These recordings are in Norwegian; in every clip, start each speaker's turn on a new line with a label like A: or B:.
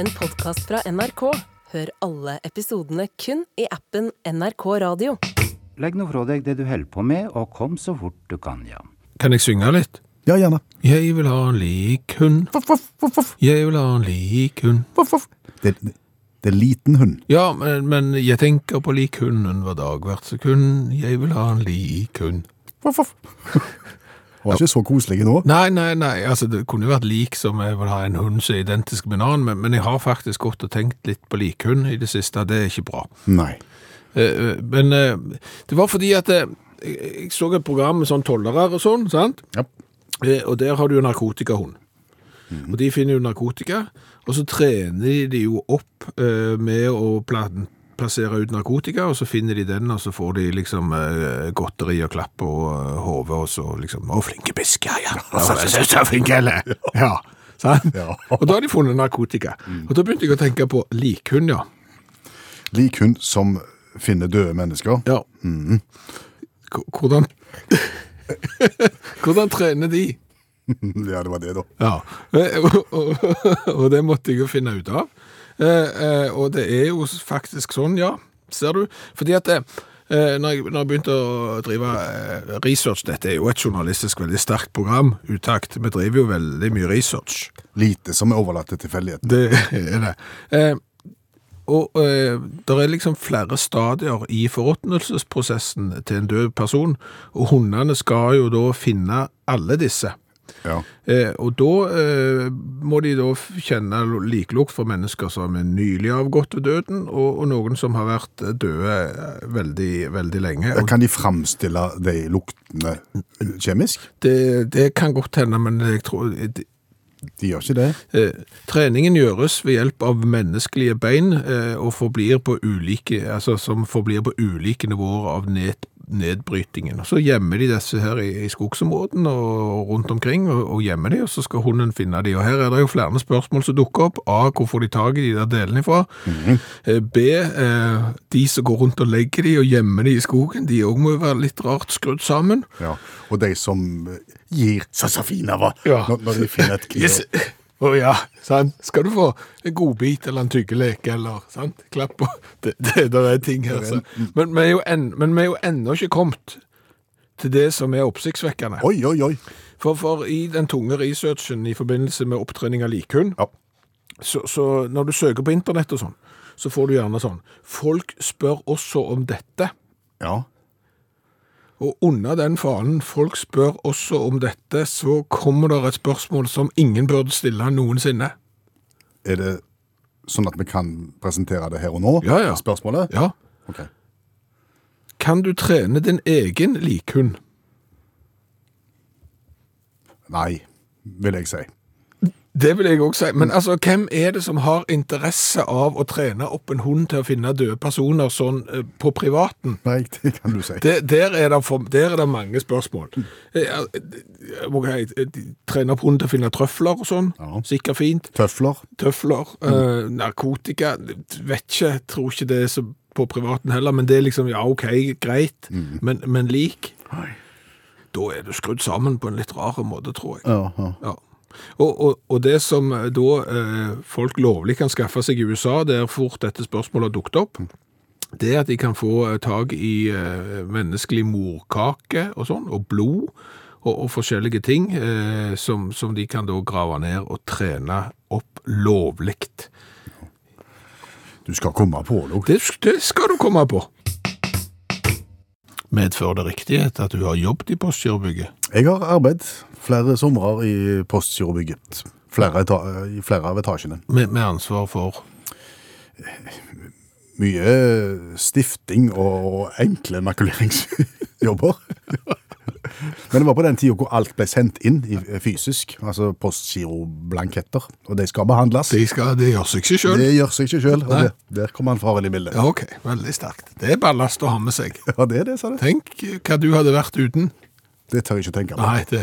A: En podkast fra NRK. Hør alle episodene kun i appen NRK Radio.
B: Legg nå fra deg det du holder på med, og kom så fort du kan, ja.
C: Kan jeg synge litt?
D: Ja, gjerne.
C: Jeg vil ha en lik hund,
D: Voff, voff, voff, voff,
C: jeg vil ha en lik hund.
D: voff, voff. Det, det, det er liten hund.
C: Ja, men, men jeg tenker på lik hunden hver dag, hvert sekund. Jeg vil ha en lik hund.
D: Voff, voff. Var ikke så koselig nå.
C: Nei, nei, nei, altså det kunne jo vært lik som jeg vil ha en hund som er identisk med en annen, men, men jeg har faktisk gått og tenkt litt på lik hund i det siste, det er ikke bra.
D: Nei.
C: Eh, eh, Men eh, det var fordi at eh, jeg jeg så et program med sånn tollere og sånn, sant?
D: Ja.
C: Eh, Og der har du jo narkotikahund. Og de finner jo narkotika, og så trener de jo opp eh, med å pla plassere ut narkotika, og så finner de den, og så får de liksom eh, godteri og klapp på eh, hodet, og så liksom Å, flinke bisk, ja, ja. Og så- så- så flink, eller? Ja. Mm. sant?
D: Ja.
C: Og da har de funnet narkotika. Og da begynte jeg å tenke på likhund, ja.
D: Lik hund som finner døde mennesker.
C: Ja. Mm. K- Hvordan Hvordan trener de?
D: Ja, det var det, da.
C: Ja. Eh, Og, og, og det måtte jeg jo finne ut av. Eh, eh, og det er jo faktisk sånn, ja. Ser du? Fordi at eh, når jeg, når jeg begynte å drive eh, research Dette er jo et journalistisk veldig sterkt program, Utakt. Vi driver jo veldig mye research.
D: Lite som er overlatt til tilfeldigheten.
C: Det er det. Eh, og eh, det er liksom flere stadier i forråtnelsesprosessen til en død person, og hundene skal jo da finne alle disse.
D: Ja.
C: Eh, og da eh, må de da f- kjenne liklukt for mennesker som er nylig avgått ved døden, og, og noen som har vært døde eh, veldig, veldig lenge. Og
D: Kan de framstille de luktene kjemisk?
C: det, det kan godt hende, men jeg tror
D: De gjør ikke det.
C: Eh, Treningen gjøres ved hjelp av menneskelige bein eh, og forblir på ulike, altså, som forblir på ulike nivåer av ned, nedbrytingen. Og Så gjemmer de disse her i, i skogsområden og rundt omkring, og, og gjemmer de, og så skal hunden finne de. Og Her er det jo flere spørsmål som dukker opp. A. Hvor får de tak i de der delene ifra? Eh, B. Eh, de som går rundt og legger de og gjemmer de i skogen, de òg må jo være litt rart skrudd sammen.
D: Ja. Og de som gir sasafinava
C: Ja.
D: når, når de finner et kniv.
C: Yes. Å ja, sant. Skal du få en godbit eller en tyggeleke eller sant? klapp på Det, det, det er ting her. Så. Men vi er jo en- men vi er jo ennå ikke kommet til det som er oppsiktsvekkende.
D: Oi, oi, oi.
C: For, for i den tunge researchen i forbindelse med opptrening av likhund,
D: Ja.
C: så, så når du søker på internett og sånn, så får du gjerne sånn Folk spør også om dette.
D: Ja.
C: Og under den fanen 'Folk spør også om dette', så kommer det et spørsmål som ingen burde stille noensinne.
D: Er det sånn at vi kan presentere det her og nå?
C: Ja, ja.
D: Spørsmålet?
C: Ja,
D: Ok.
C: Kan du trene din egen likhund?
D: Nei, vil jeg si.
C: Det vil jeg også si. Men altså, hvem er det som har interesse av å trene opp en hund til å finne døde personer sånn eh, på privaten?
D: Nei, det kan du si.
C: Det, der, er det for, der er det mange spørsmål. Eh, eh, ok, eh, de- Trene opp hunden til å finne trøfler og sånn.
D: Ja.
C: Sikkert fint.
D: Tøfler?
C: Tøfler, eh, narkotika. Vet ikke, tror ikke det er så på privaten heller, men det er liksom ja, OK, greit, men, men lik. Da er du skrudd sammen på en litt rar måte, tror jeg.
D: Ja, ja.
C: Ja. Og, og, og det som da eh, folk lovlig kan skaffe seg i USA, der fort dette spørsmålet har dukket opp, det er at de kan få eh, tag i eh, menneskelig morkake og sånn, og blod og, og forskjellige ting eh, som, som de kan da grave ned og trene opp lovligt.
D: Du skal komme på det.
C: Det, det skal du komme på. Medfører det riktighet at du har jobbet i postgirobygget?
D: Jeg har arbeidet flere somrer i postgirobygget. Flere eta I flere av etasjene.
C: Med, med ansvar for
D: Mye eh, stifting og enkle makuleringsjobber. Men det var på den tida hvor alt ble sendt inn i- fysisk. Altså postgiroblanketter. Og de skal behandles.
C: Det, skal, det gjør seg ikke selv.
D: Det gjør seg ikke sjøl.
C: Nei.
D: Der, der kommer han faren i bildet.
C: Ja, ok. Veldig sterkt. Det er ballast å ha med seg.
D: Ja, det er det, sa du.
C: Tenk hva du hadde vært uten.
D: Det tør jeg ikke tenke på.
C: Nei, det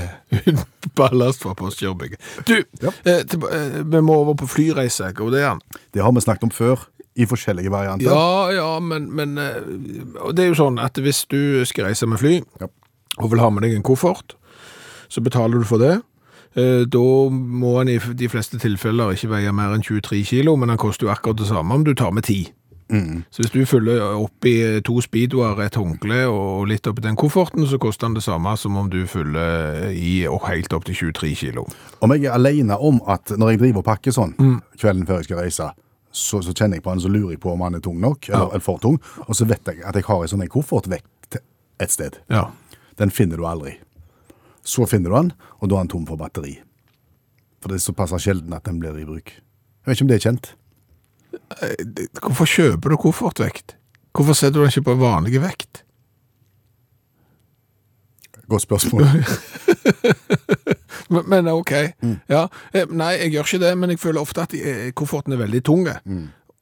C: er ballast fra Postgirobygget. Du,
D: Ja.
C: eh, tilba- eh, vi må over på flyreise, og det er han.
D: Det har vi snakket om før, i forskjellige varianter.
C: Ja, ja, men, men eh, og det er jo sånn at hvis du skal reise med fly,
D: Ja.
C: og vil ha med deg en koffert, så betaler du for det. Eh, Da må han i f- de fleste tilfeller ikke veie mer enn 23 kilo, men han koster jo akkurat det samme om du tar med 10. Så hvis du fyller opp i to speedoer, et håndkle og litt oppi den kofferten, så koster han det samme som om du fyller i og helt opp til 23 kilo.
D: Om jeg er alene om at når jeg driver og pakker sånn
C: Mm.
D: kvelden før jeg skal reise, så, så kjenner jeg på han, så lurer jeg på om han er tung nok, eller, eller for tung, og så vet jeg at jeg har en sånn en koffert vekk til et sted.
C: Ja.
D: Den finner du aldri. Så finner du den, og da er den tom for batteri. For det er såpass sjelden at den blir i bruk. Jeg vet ikke om det er kjent.
C: Hvorfor kjøper du koffertvekt? Hvorfor setter du den ikke på vanlig vekt?
D: Godt spørsmål.
C: Men, men ok, ja. Eh, Nei, jeg gjør ikke det, men jeg føler ofte at eh, kofferten er veldig tunge.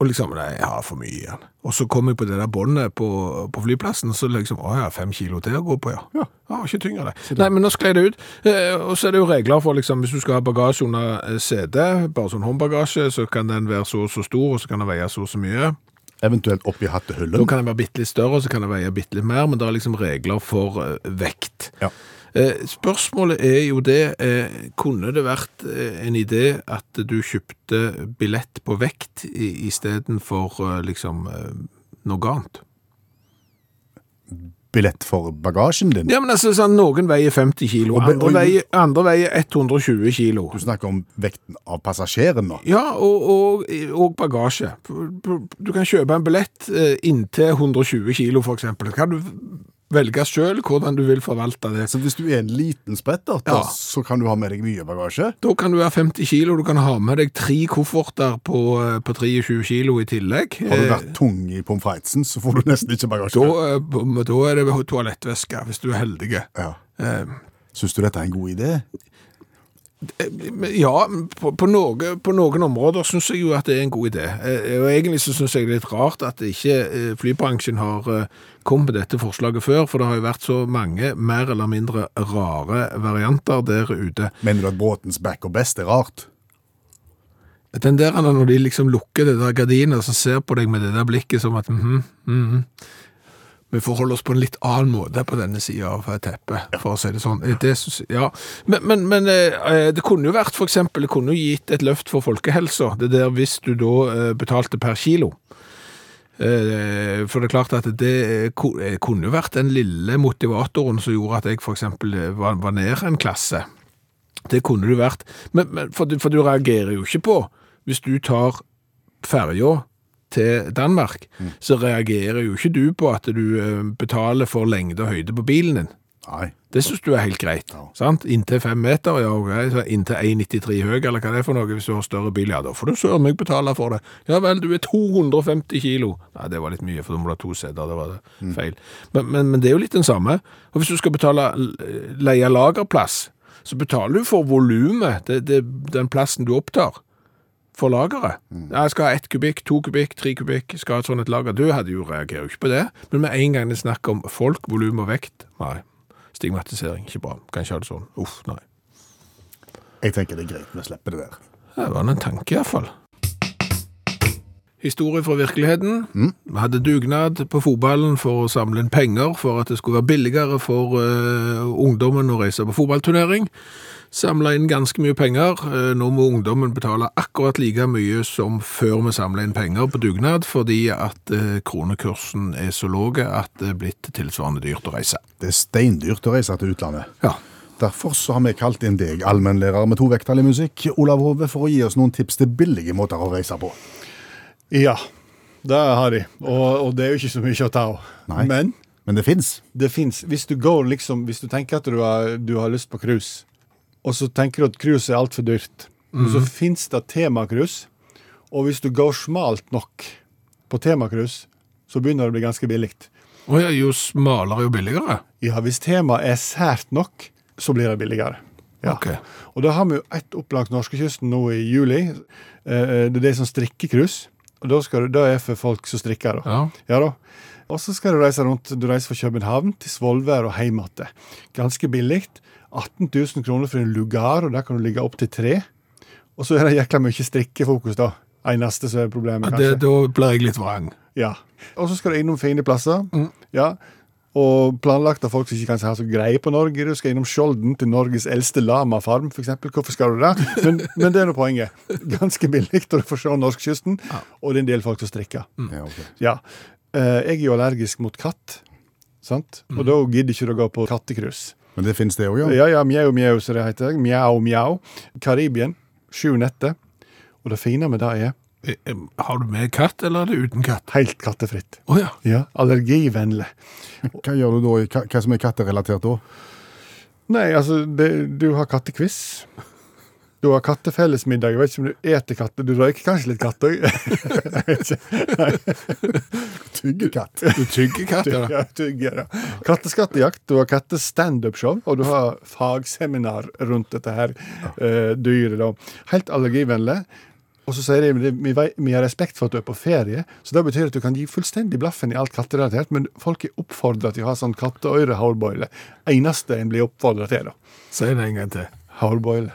C: Og liksom, nei, jeg har for mye igjen. Og så kom jeg på det der båndet på, på flyplassen, så liksom, å ja, fem kilo til å gå på, ja. Ja, ikke tyngre det. Nei, men nå sklei det ut. Eh, og så er det jo regler for, liksom, hvis du skal ha bagasje under eh, CD, bare sånn håndbagasje, så kan den være så og så stor, og så kan den veie så og så mye.
D: Eventuelt oppi
C: Da
D: hattehullen.
C: kan den være bitte litt større, så kan den veie bitte litt mer, men det er liksom regler for eh, vekt.
D: Ja.
C: Eh, spørsmålet er jo det, eh, kunne det vært eh, en idé at du kjøpte billett på vekt i, i stedet for eh, liksom eh, noe annet?
D: Billett for bagasjen din.
C: Ja, men altså, sånn, noen veier 50 kilo,
D: Og be-
C: andre
D: og-
C: veier, andre veier 120 kilo.
D: Du snakker om vekten av passasjeren nå.
C: Ja, og, og, og bagasje. Du kan kjøpe en billett eh, inntil 120 kilo, for eksempel. Kan du velge selv hvordan du vil forvalte det?
D: Så hvis du er en liten sprettert, da,
C: Ja.
D: så kan du ha med deg mye bagasje.
C: Da kan du være 50 kilo, du kan ha med deg tre kofferter på, eh, på 23 kilo i tillegg.
D: Har du
C: Eh,
D: vært tung i pommes fritesen, så får du nesten ikke bagasje.
C: Da, eh, b- da er det toalettveske, hvis du er heldig.
D: Ja.
C: Eh,
D: Syns du dette er en god idé?
C: men Ja, på, på, noe, på noen områder syns jeg jo at det er en god idé. Eh, Og egentlig så syns jeg det er litt rart at ikke eh, flybransjen har eh, kommet med dette forslaget før, for det har jo vært så mange mer eller mindre rare varianter der ute.
D: Mener du at Bråtens back og best er rart?
C: Den der når de liksom lukker det der gardinet og ser på deg med det der blikket som at mhm, mhm. Vi forholder oss på en litt annen måte på denne sida av teppet, for å si det sånn. Eh, Det synes, ja. Men, men, men eh, eh, det kunne jo vært, for eksempel, det kunne jo gitt et løft for folkehelsa. Det der hvis du da eh, betalte per kilo. Eh, For det er klart at det eh, ku- eh, kunne jo vært den lille motivatoren som gjorde at jeg for eksempel eh, var, var nede en klasse. Det kunne du vært. Men, men, for, du, for du reagerer jo ikke på Hvis du tar ferja til Danmark, så reagerer jo ikke du på at du eh, betaler for lengde og høyde på bilen din.
D: Nei.
C: Det syns du er helt greit.
D: Ja.
C: sant? Inntil fem meter, ja, ok, så inntil 1,93 høy, eller hva det er for noe. Hvis du har større bil, ja, da får du søren meg betale for det. Ja vel, du er 250 kilo. Nei, det var litt mye, for da må du ha to seter. Det var feil. Men, men, men det er jo litt den samme. Og hvis du skal betale l- leie lagerplass, så betaler du for volumet, det, det, den plassen du opptar. For lageret. Ja, Jeg skal ha ett kubikk, to kubikk, tre kubikk, skal ha et sånt et lager. Du hadde jo reagerer jo ikke på det. Men med en gang det er snakk om folk, volum og vekt, nei. Stigmatisering, ikke bra. Kan ikke ha det sånn. Uff, nei.
D: Jeg tenker det er greit vi slipper det der.
C: Det var en tanke iallfall. Historie fra virkeligheten. Vi hadde dugnad på fotballen for å samle inn penger for at det skulle være billigere for eh, ungdommen å reise på fotballturnering. Samla inn ganske mye penger. Eh, nå må ungdommen betale akkurat like mye som før vi samla inn penger på dugnad, fordi at eh, kronekursen er så lav at det er blitt tilsvarende dyrt å reise.
D: Det er steindyrt å reise til utlandet.
C: Ja.
D: Derfor så har vi kalt inn deg, allmennlærer med to vekttall i musikk, Olav Hove, for å gi oss noen tips til billige måter å reise på.
E: Ja, det har de. Og, og det er jo ikke så mye å ta av.
D: Nei.
E: Men
D: Men det fins.
E: det fins. Hvis du går liksom, hvis du tenker at du har, du har lyst på cruise, og så tenker du at cruise er altfor dyrt, og så fins det temacruise. Og hvis du går smalt nok på temacruise, så begynner det å bli ganske billig.
C: Og ja, jo smalere, jo billigere.
E: Ja, hvis temaet er sært nok, så blir det billigere. Ja.
C: Ok.
E: Og da har vi jo ett opplag til norskekysten nå i juli. Eh, Det er det som strikkecruise. Og da skal du, det er for folk som strikker, da.
C: Ja.
E: Ja da. Og så skal du reise rundt. Du reiser fra København til Svolvær og hjem igjen. Ganske billig. 18 000 kroner for en lugar, og der kan du ligge opptil tre. Og så er det jækla mye strikkefokus, da. Eneste som er problemet,
C: Ja,
E: kanskje.
C: det, da blir jeg litt vrang.
E: Ja. Og så skal du innom fine plasser. Ja. Og planlagt av folk som ikke kanskje har så greie på Norge. Du skal innom Skjolden til Norges eldste lamafarm, f.eks. Hvorfor skal du det? Men, men det er nå poenget. Ganske billig, og du får se norskekysten. Og det er en del folk som strikker.
D: Ja, ok.
E: Ja. Eh, Jeg er jo allergisk mot katt, sant? og da gidder ikke du å gå på kattekryss.
D: Men det finnes det òg, ja.
E: Ja, ja, mjau, mjau, som det heter. Mjau, mjau. Karibien. Sju netter. Og det fine med det er
C: Eh, eh, Har du med katt, eller er det uten katt?
E: helt kattefritt.
C: Å ja.
E: Ja, Allergivennlig.
D: Hva gjør du da, i- hva, hva som er katterelatert da?
E: Nei, altså, det, du har kattekviss. Du har kattefellesmiddag. Jeg vet ikke om du eter katter. Du røyker kanskje litt katt òg.
D: Tyggekatt.
C: Du tygger katt, ja.
E: Ja, tygg er det. Katteskattejakt, du har kattestandup-show, og du har fagseminar rundt dette her eh, dyret. da. Helt allergivennlig. Og så sier de at vi, vei- vi har respekt for at du er på ferie, så det betyr at du kan gi fullstendig blaffen i alt katterelatert, men folk er oppfordra til å ha sånn katteøyre-hårboile. Eneste en blir oppfordra til, da.
C: Si det en gang til.
E: Hårboile.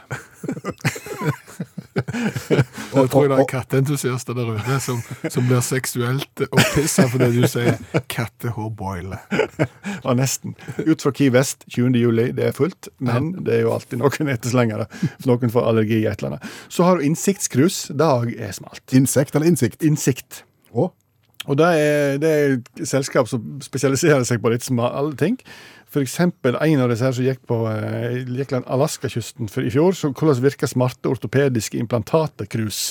C: Jeg tror jeg det er katteentusiaster der ute som, som blir seksuelt opphissa fordi du sier 'kattehårboile'.
E: Ja, nesten. Ut fra Key West 20. juli, det er fullt, men det er jo alltid noen etterslengere. For noen får allergi i et eller annet. Så har du innsiktskrus. Dag er smalt.
D: Insekt eller innsikt?
E: Innsikt.
D: Å,
E: Og det er, det er et selskap som spesialiserer seg på litt smale ting. For eksempel en av disse her som gikk på eh, gikk langs Alaskakysten for- i fjor. Så hvordan virker smarte ortopediske implantater-krus?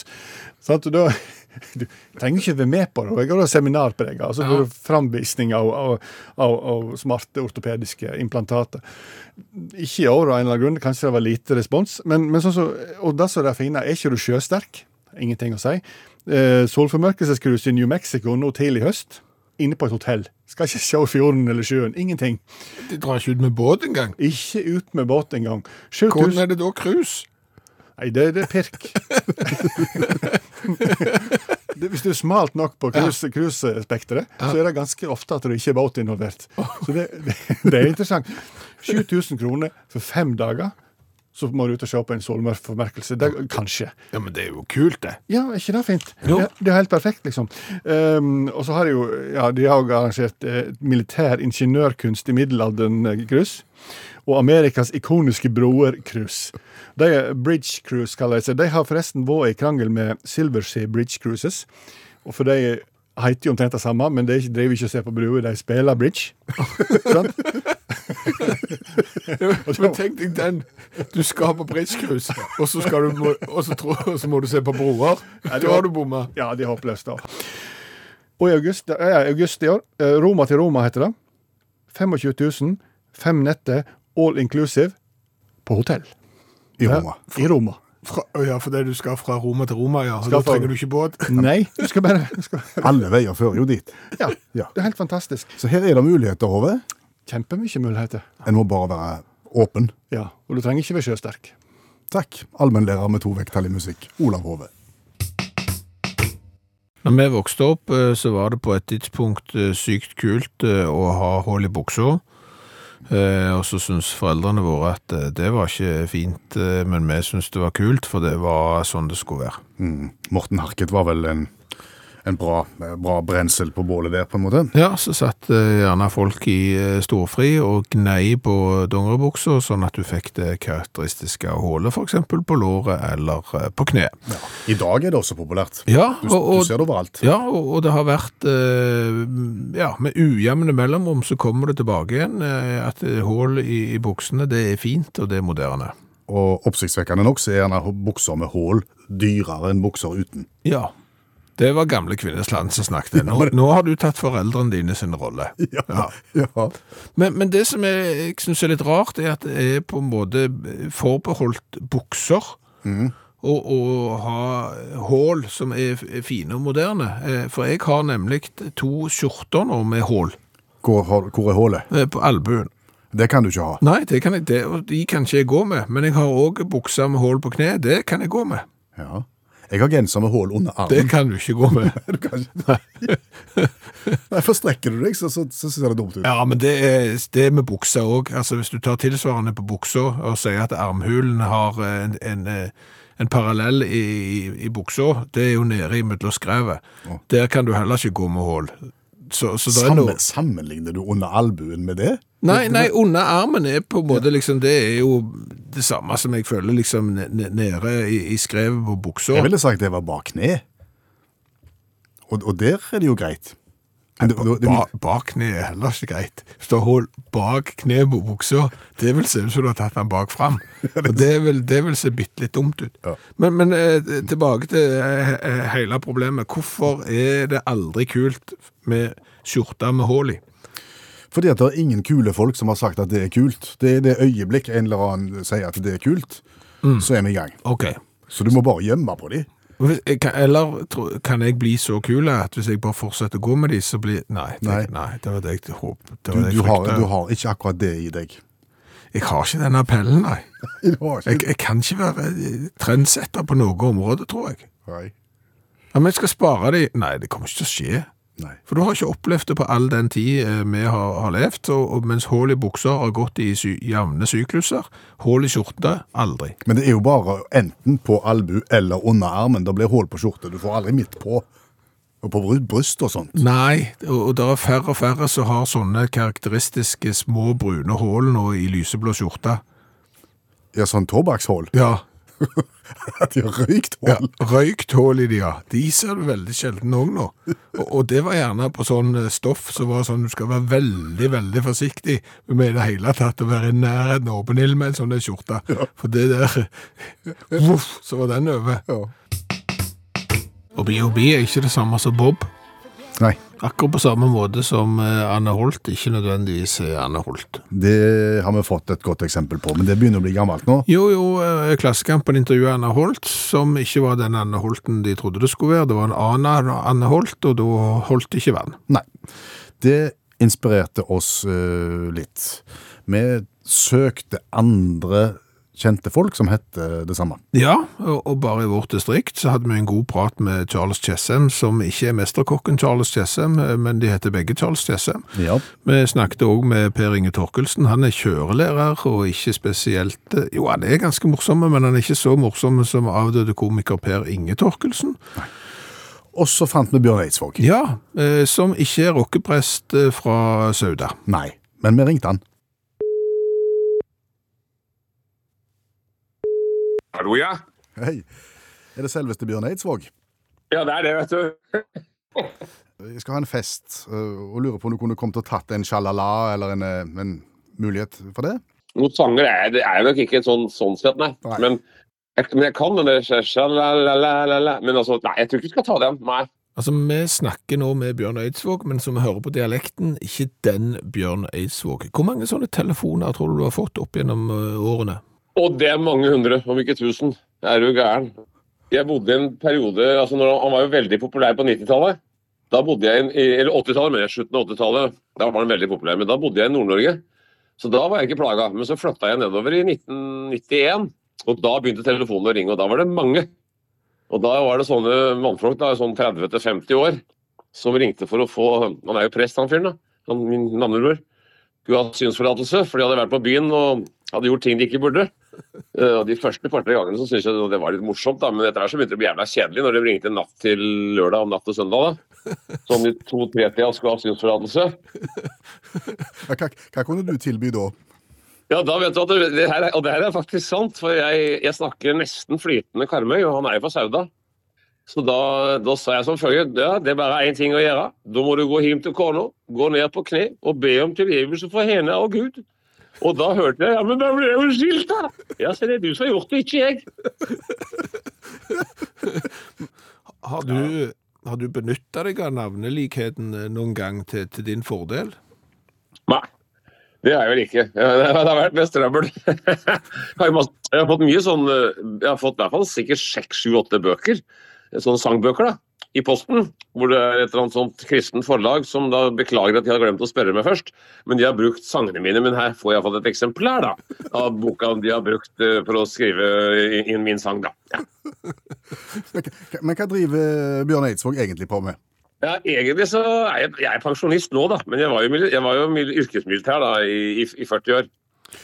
E: Sant? Og da, du trenger ikke være med på det. og Jeg har da seminar på deg. Altså, ja. Framvisning av, av, av, av smarte ortopediske implantater. Ikke i år av en eller annen grunn. Kanskje det var lite respons. Men, men sånn så, og det som er det fine, er ikke du sjøsterk? Ingenting å si. Eh, Solformørkelsescruise i New Mexico nå tidlig i høst. Inne på et hotell. Skal ikke se fjorden eller sjøen. Ingenting.
C: De drar ikke ut med båt engang.
E: Ikke ut med båt engang.
C: Hvordan
E: 7000
C: er det da cruise?
E: Nei, det, det er pirk. det, hvis du er smalt nok på cruise- cruisespekteret, så er det ganske ofte at det ikke er båt involvert. Så det, det, det er interessant. 7000 kroner for fem dager, så må du ut og se på en solmørkelse. Det- Kanskje.
C: Ja, men det er jo kult, det.
E: Ja, er ikke det fint?
C: Jo.
E: Ja, det er helt perfekt, liksom. Ehm, og så har de jo ja, de har jo arrangert eh, militær ingeniørkunst i middelalderen-cruise. Og Amerikas ikoniske broer-cruise. De er Bridge Cruise, kaller de seg. De har forresten vært i krangel med Silver Sea Bridge Cruises. Og for de heter jo omtrent det samme, men de driver ikke og ser på broer, de spiller bridge. Sant?
C: Men tenk deg den. Du skal på bridgecruise, og, så skal du må- og så tror- og så må du se på broer. Da har du bomma.
E: Ja, de er håpløse, da. Og i august, ja, ja, august i år, eh, Roma til Roma heter det. 25 000, fem netter, all inclusive, på hotell.
D: I Roma.
E: Ja, I Roma.
C: Fra- Ja, fordi du skal fra Roma til Roma, ja.
E: Skal
C: Da
E: fra-
C: trenger du ikke båt.
E: Nei, du skal bare du skal,
D: Alle veier fører jo dit.
E: ja,
D: Ja.
E: Det er helt fantastisk.
D: Så her er det muligheter, Hove.
E: Kjempemye muligheter.
D: En må bare være åpen.
E: Ja, Og du trenger ikke være sjøsterk.
D: Takk, allmennlærer med to vekttall i musikk, Olav Hove.
C: Når vi vokste opp, eh, så var det på et tidspunkt eh, sykt kult eh, å ha hull i buksa. Eh, Og så syntes foreldrene våre at eh, det var ikke fint, eh, men vi syntes det var kult, for det var sånn det skulle være.
D: Mm. Morten Harket var vel en, en bra, bra brensel på bålet der, på en måte.
C: Ja, så satt eh, gjerne folk i eh, storfri og gnei på dongeribuksa, sånn at du fikk det karakteristiske hullet, f.eks. på låret eller eh, på kneet.
D: I dag er det også populært.
C: Ja,
D: Du,
C: og, og,
D: du ser det overalt.
C: Ja, og, og det har vært eh, Ja, med ujevne mellomrom så kommer det tilbake igjen eh, at hull i, i buksene, det er fint, og det er moderne.
D: Og oppsiktsvekkende nok så er gjerne bukser med hull dyrere enn bukser uten.
C: Ja. Det var gamle kvinners land som snakket. Nå, nå har du tatt foreldrene dine sin rolle.
D: Ja. ja.
C: Men, men det som jeg, jeg syns er litt rart, er at det er på en måte forbeholdt bukser. Mm. Og, og ha hull som er f- fine og moderne. Eh, For jeg har nemlig to skjorter nå med hull
D: Hvor, har- hvor er hullet?
C: eh, på albuen.
D: Det kan du ikke ha.
C: Nei, det kan jeg, det, og de kan ikke jeg gå med. Men jeg har òg bukser med hull på kneet. Det kan jeg gå med.
D: Ja. Jeg har genser med hull under armen.
C: Det kan du ikke gå med.
D: Du kan ikke. Nei, for strekker du deg, så, så, så ser det dumt ut.
C: Ja, men det er det med buksa òg. Altså, hvis du tar tilsvarende på buksa og sier at armhulen har en, en, eh, en parallell i, i, i buksa, det er jo nede imellom skrevet. Der kan du heller ikke gå med hull. Så, så det er
D: Sammen,
C: noe
D: sammenligner du under albuen med det?
C: Nei, nei, under armen er på en måte liksom Det er jo det samme som jeg føler liksom ne- ne- nede i, i skrevet på buksa.
D: Jeg ville sagt det var bak kne. Og, og der er det jo greit. Men det, det, det,
C: Ba, bak kne er heller ikke greit. Står hull bak kne på buksa, det vil se ut som du har tatt den bak fram. Og det vil, det vil se bitte litt dumt ut.
D: Ja.
C: Men, men eh, tilbake til eh, eh, hele problemet. Hvorfor er det aldri kult med skjorte med hull i?
D: fordi at det er ingen kule folk som har sagt at det er kult. Det er det øyeblikk en eller annen sier at det er kult,
C: Mm.
D: så er vi i gang.
C: Ok.
D: Så du må bare gjemme på dem.
C: Hvis- jeg kan- Eller tro- kan jeg bli så kul at hvis jeg bare fortsetter å gå med de, så blir Nei, det,
D: Nei.
C: nei. det var det jeg håpet. Det
D: Du,
C: var det
D: du,
C: jeg
D: har,
C: fryktet.
D: du har ikke akkurat det i deg.
C: Jeg har ikke den appellen, nei.
D: Du har
C: Jeg,
D: ikke
C: jeg kan ikke være eh, trendsetter på noe område, tror jeg.
D: Nei.
C: Ja, men jeg skal spare de Nei, det kommer ikke til å skje.
D: Nei.
C: For du har ikke opplevd det på all den tid eh, vi har, har levd, og, og mens hull i bukser har gått i sy jevne sykluser, hull i skjorte aldri.
D: Men det er jo bare enten på albu eller under armen. Det blir hull på skjorte. Du får aldri midt på. Og på bry- bryst og sånt.
C: Nei, og, og det er færre og færre som har sånne karakteristiske små brune hull nå i lyseblå skjorte.
D: Ja, sånn tobakkshull.
C: Ja,
D: At de har røykt
C: Ja,
D: hull.
C: røykt hull i de, ja. De ser du veldig sjelden òg nå. Og, og det var gjerne på sånn eh, stoff som var sånn du skal være veldig, veldig forsiktig med i det hele tatt å være i nærheten av åpen ild med en sånn der skjorte. For det der Voff, så var den over. Og BOB er ikke det samme som Bob.
D: Nei,
C: Akkurat på samme måte som eh, Anne Holt ikke nødvendigvis er Anne Holt.
D: det har vi fått et godt eksempel på, men det begynner å bli gammelt nå.
C: Jo, jo, eh, Klassekampen intervjuet Anne Holt, som ikke var den Anne Holten de trodde det skulle være. Det var en annen Anne Holt, og da holdt det ikke vann.
D: Nei. Det inspirerte oss eh, litt. Vi søkte andre kjente folk som hette det samme.
C: Ja, og og bare i vårt distrikt så hadde vi en god prat med Charles Chessem, som ikke er mesterkokken Charles Chessem, eh, men de heter begge Charles Chessem.
D: Ja.
C: Vi snakket òg med Per Inge Torkelsen. Han er kjørelærer og ikke spesielt eh, Jo, han er ganske morsom, men han er ikke så morsom som avdøde komiker Per Inge Torkelsen.
D: Og så fant vi Bjørn Eidsvåg.
C: Ja, eh, som ikke er rockeprest eh, fra Sauda.
D: Nei, men vi ringte han.
F: Hallo, ja.
D: Hei. Er det selveste Bjørn Eidsvåg?
F: Ja, det er det, vet du.
D: Jeg skal ha en fest, eh, og lurer på om du kunne kommet og tatt en sjalala eller en, eh, en mulighet for det?
F: Noen sanger er det er nok ikke sånn, sånn sett, nei.
D: Nei.
F: Men, jeg, men jeg kan den der sja- sja- la- la- la- la- la. Men altså, nei, jeg tror ikke du skal ta den. Nei.
C: Altså, Vi snakker nå med Bjørn Eidsvåg, men som vi hører på dialekten, ikke den Bjørn Eidsvåg. Hvor mange sånne telefoner tror du du har fått opp gjennom eh, årene?
F: Og det er mange hundre, om ikke tusen. Er du gæren? Jeg bodde i en periode altså når han, han var jo veldig populær på 90-tallet. Da bodde jeg i en- i, Eller 80-tallet, mener jeg. Slutten av 80-tallet. Da var han veldig populær. Men da bodde jeg i Nord-Norge. Så da var jeg ikke plaga. Men så flytta jeg nedover i 1991, og da begynte telefonen å ringe. Og da var det mange. Og da var det sånne mannfolk, da, sånn 30-50 år, som ringte for å få Han er jo prest, han fyren, da. Han, min navnebror. Skulle ha synsforlatelse, for de hadde vært på byen og hadde gjort ting de ikke burde. Eh, Og De første par-tre gangene så syntes jeg det var litt morsomt, da, men etter hvert så begynte det å bli jævla kjedelig når de ringte natt til lørdag og natt til søndag. da. Sånn i to-tre-tida skulle ha synsforlatelse.
D: Ja, hva, hva kunne du tilby da?
F: Ja, da vet du at det, det her er, Og det her er faktisk sant, for jeg, jeg snakker nesten flytende Karmøy, og han er jo fra Sauda. Så da, da sa jeg som følger ja, det er bare én ting å gjøre. Da må du gå hjem til kona, gå ned på kne og be om tilgivelse for henne og Gud. Og da hørte jeg ja, men da ble jeg jo skilt, da! Ja, så det er du som har gjort det, ikke jeg.
C: Har du, har du benytta deg av navnelikheten eh, noen gang til, til din fordel?
F: Nei, det er jeg vel ikke. Ja, Det har vært mest trøbbel. Jeg har, masse, jeg har fått mye sånn eh, Jeg har fått i hvert fall sikkert seks, sju, åtte bøker. Eh, Sånne sangbøker, da. I posten. Hvor det er et eller annet sånt kristent forlag som da beklager at de har glemt å spørre meg først. Men de har brukt sangene mine. Men her får jeg iallfall et eksemplar da, av boka de har brukt eh, for å skrive i- inn min sang, da. Ja.
D: Men, hva- men hva driver Bjørn Eidsvåg egentlig på med?
F: Ja, Egentlig så er jeg, jeg er pensjonist nå, da. Men jeg var jo, mil- jeg var jo mil- yrkesmilitær da, i, i, i 40 år.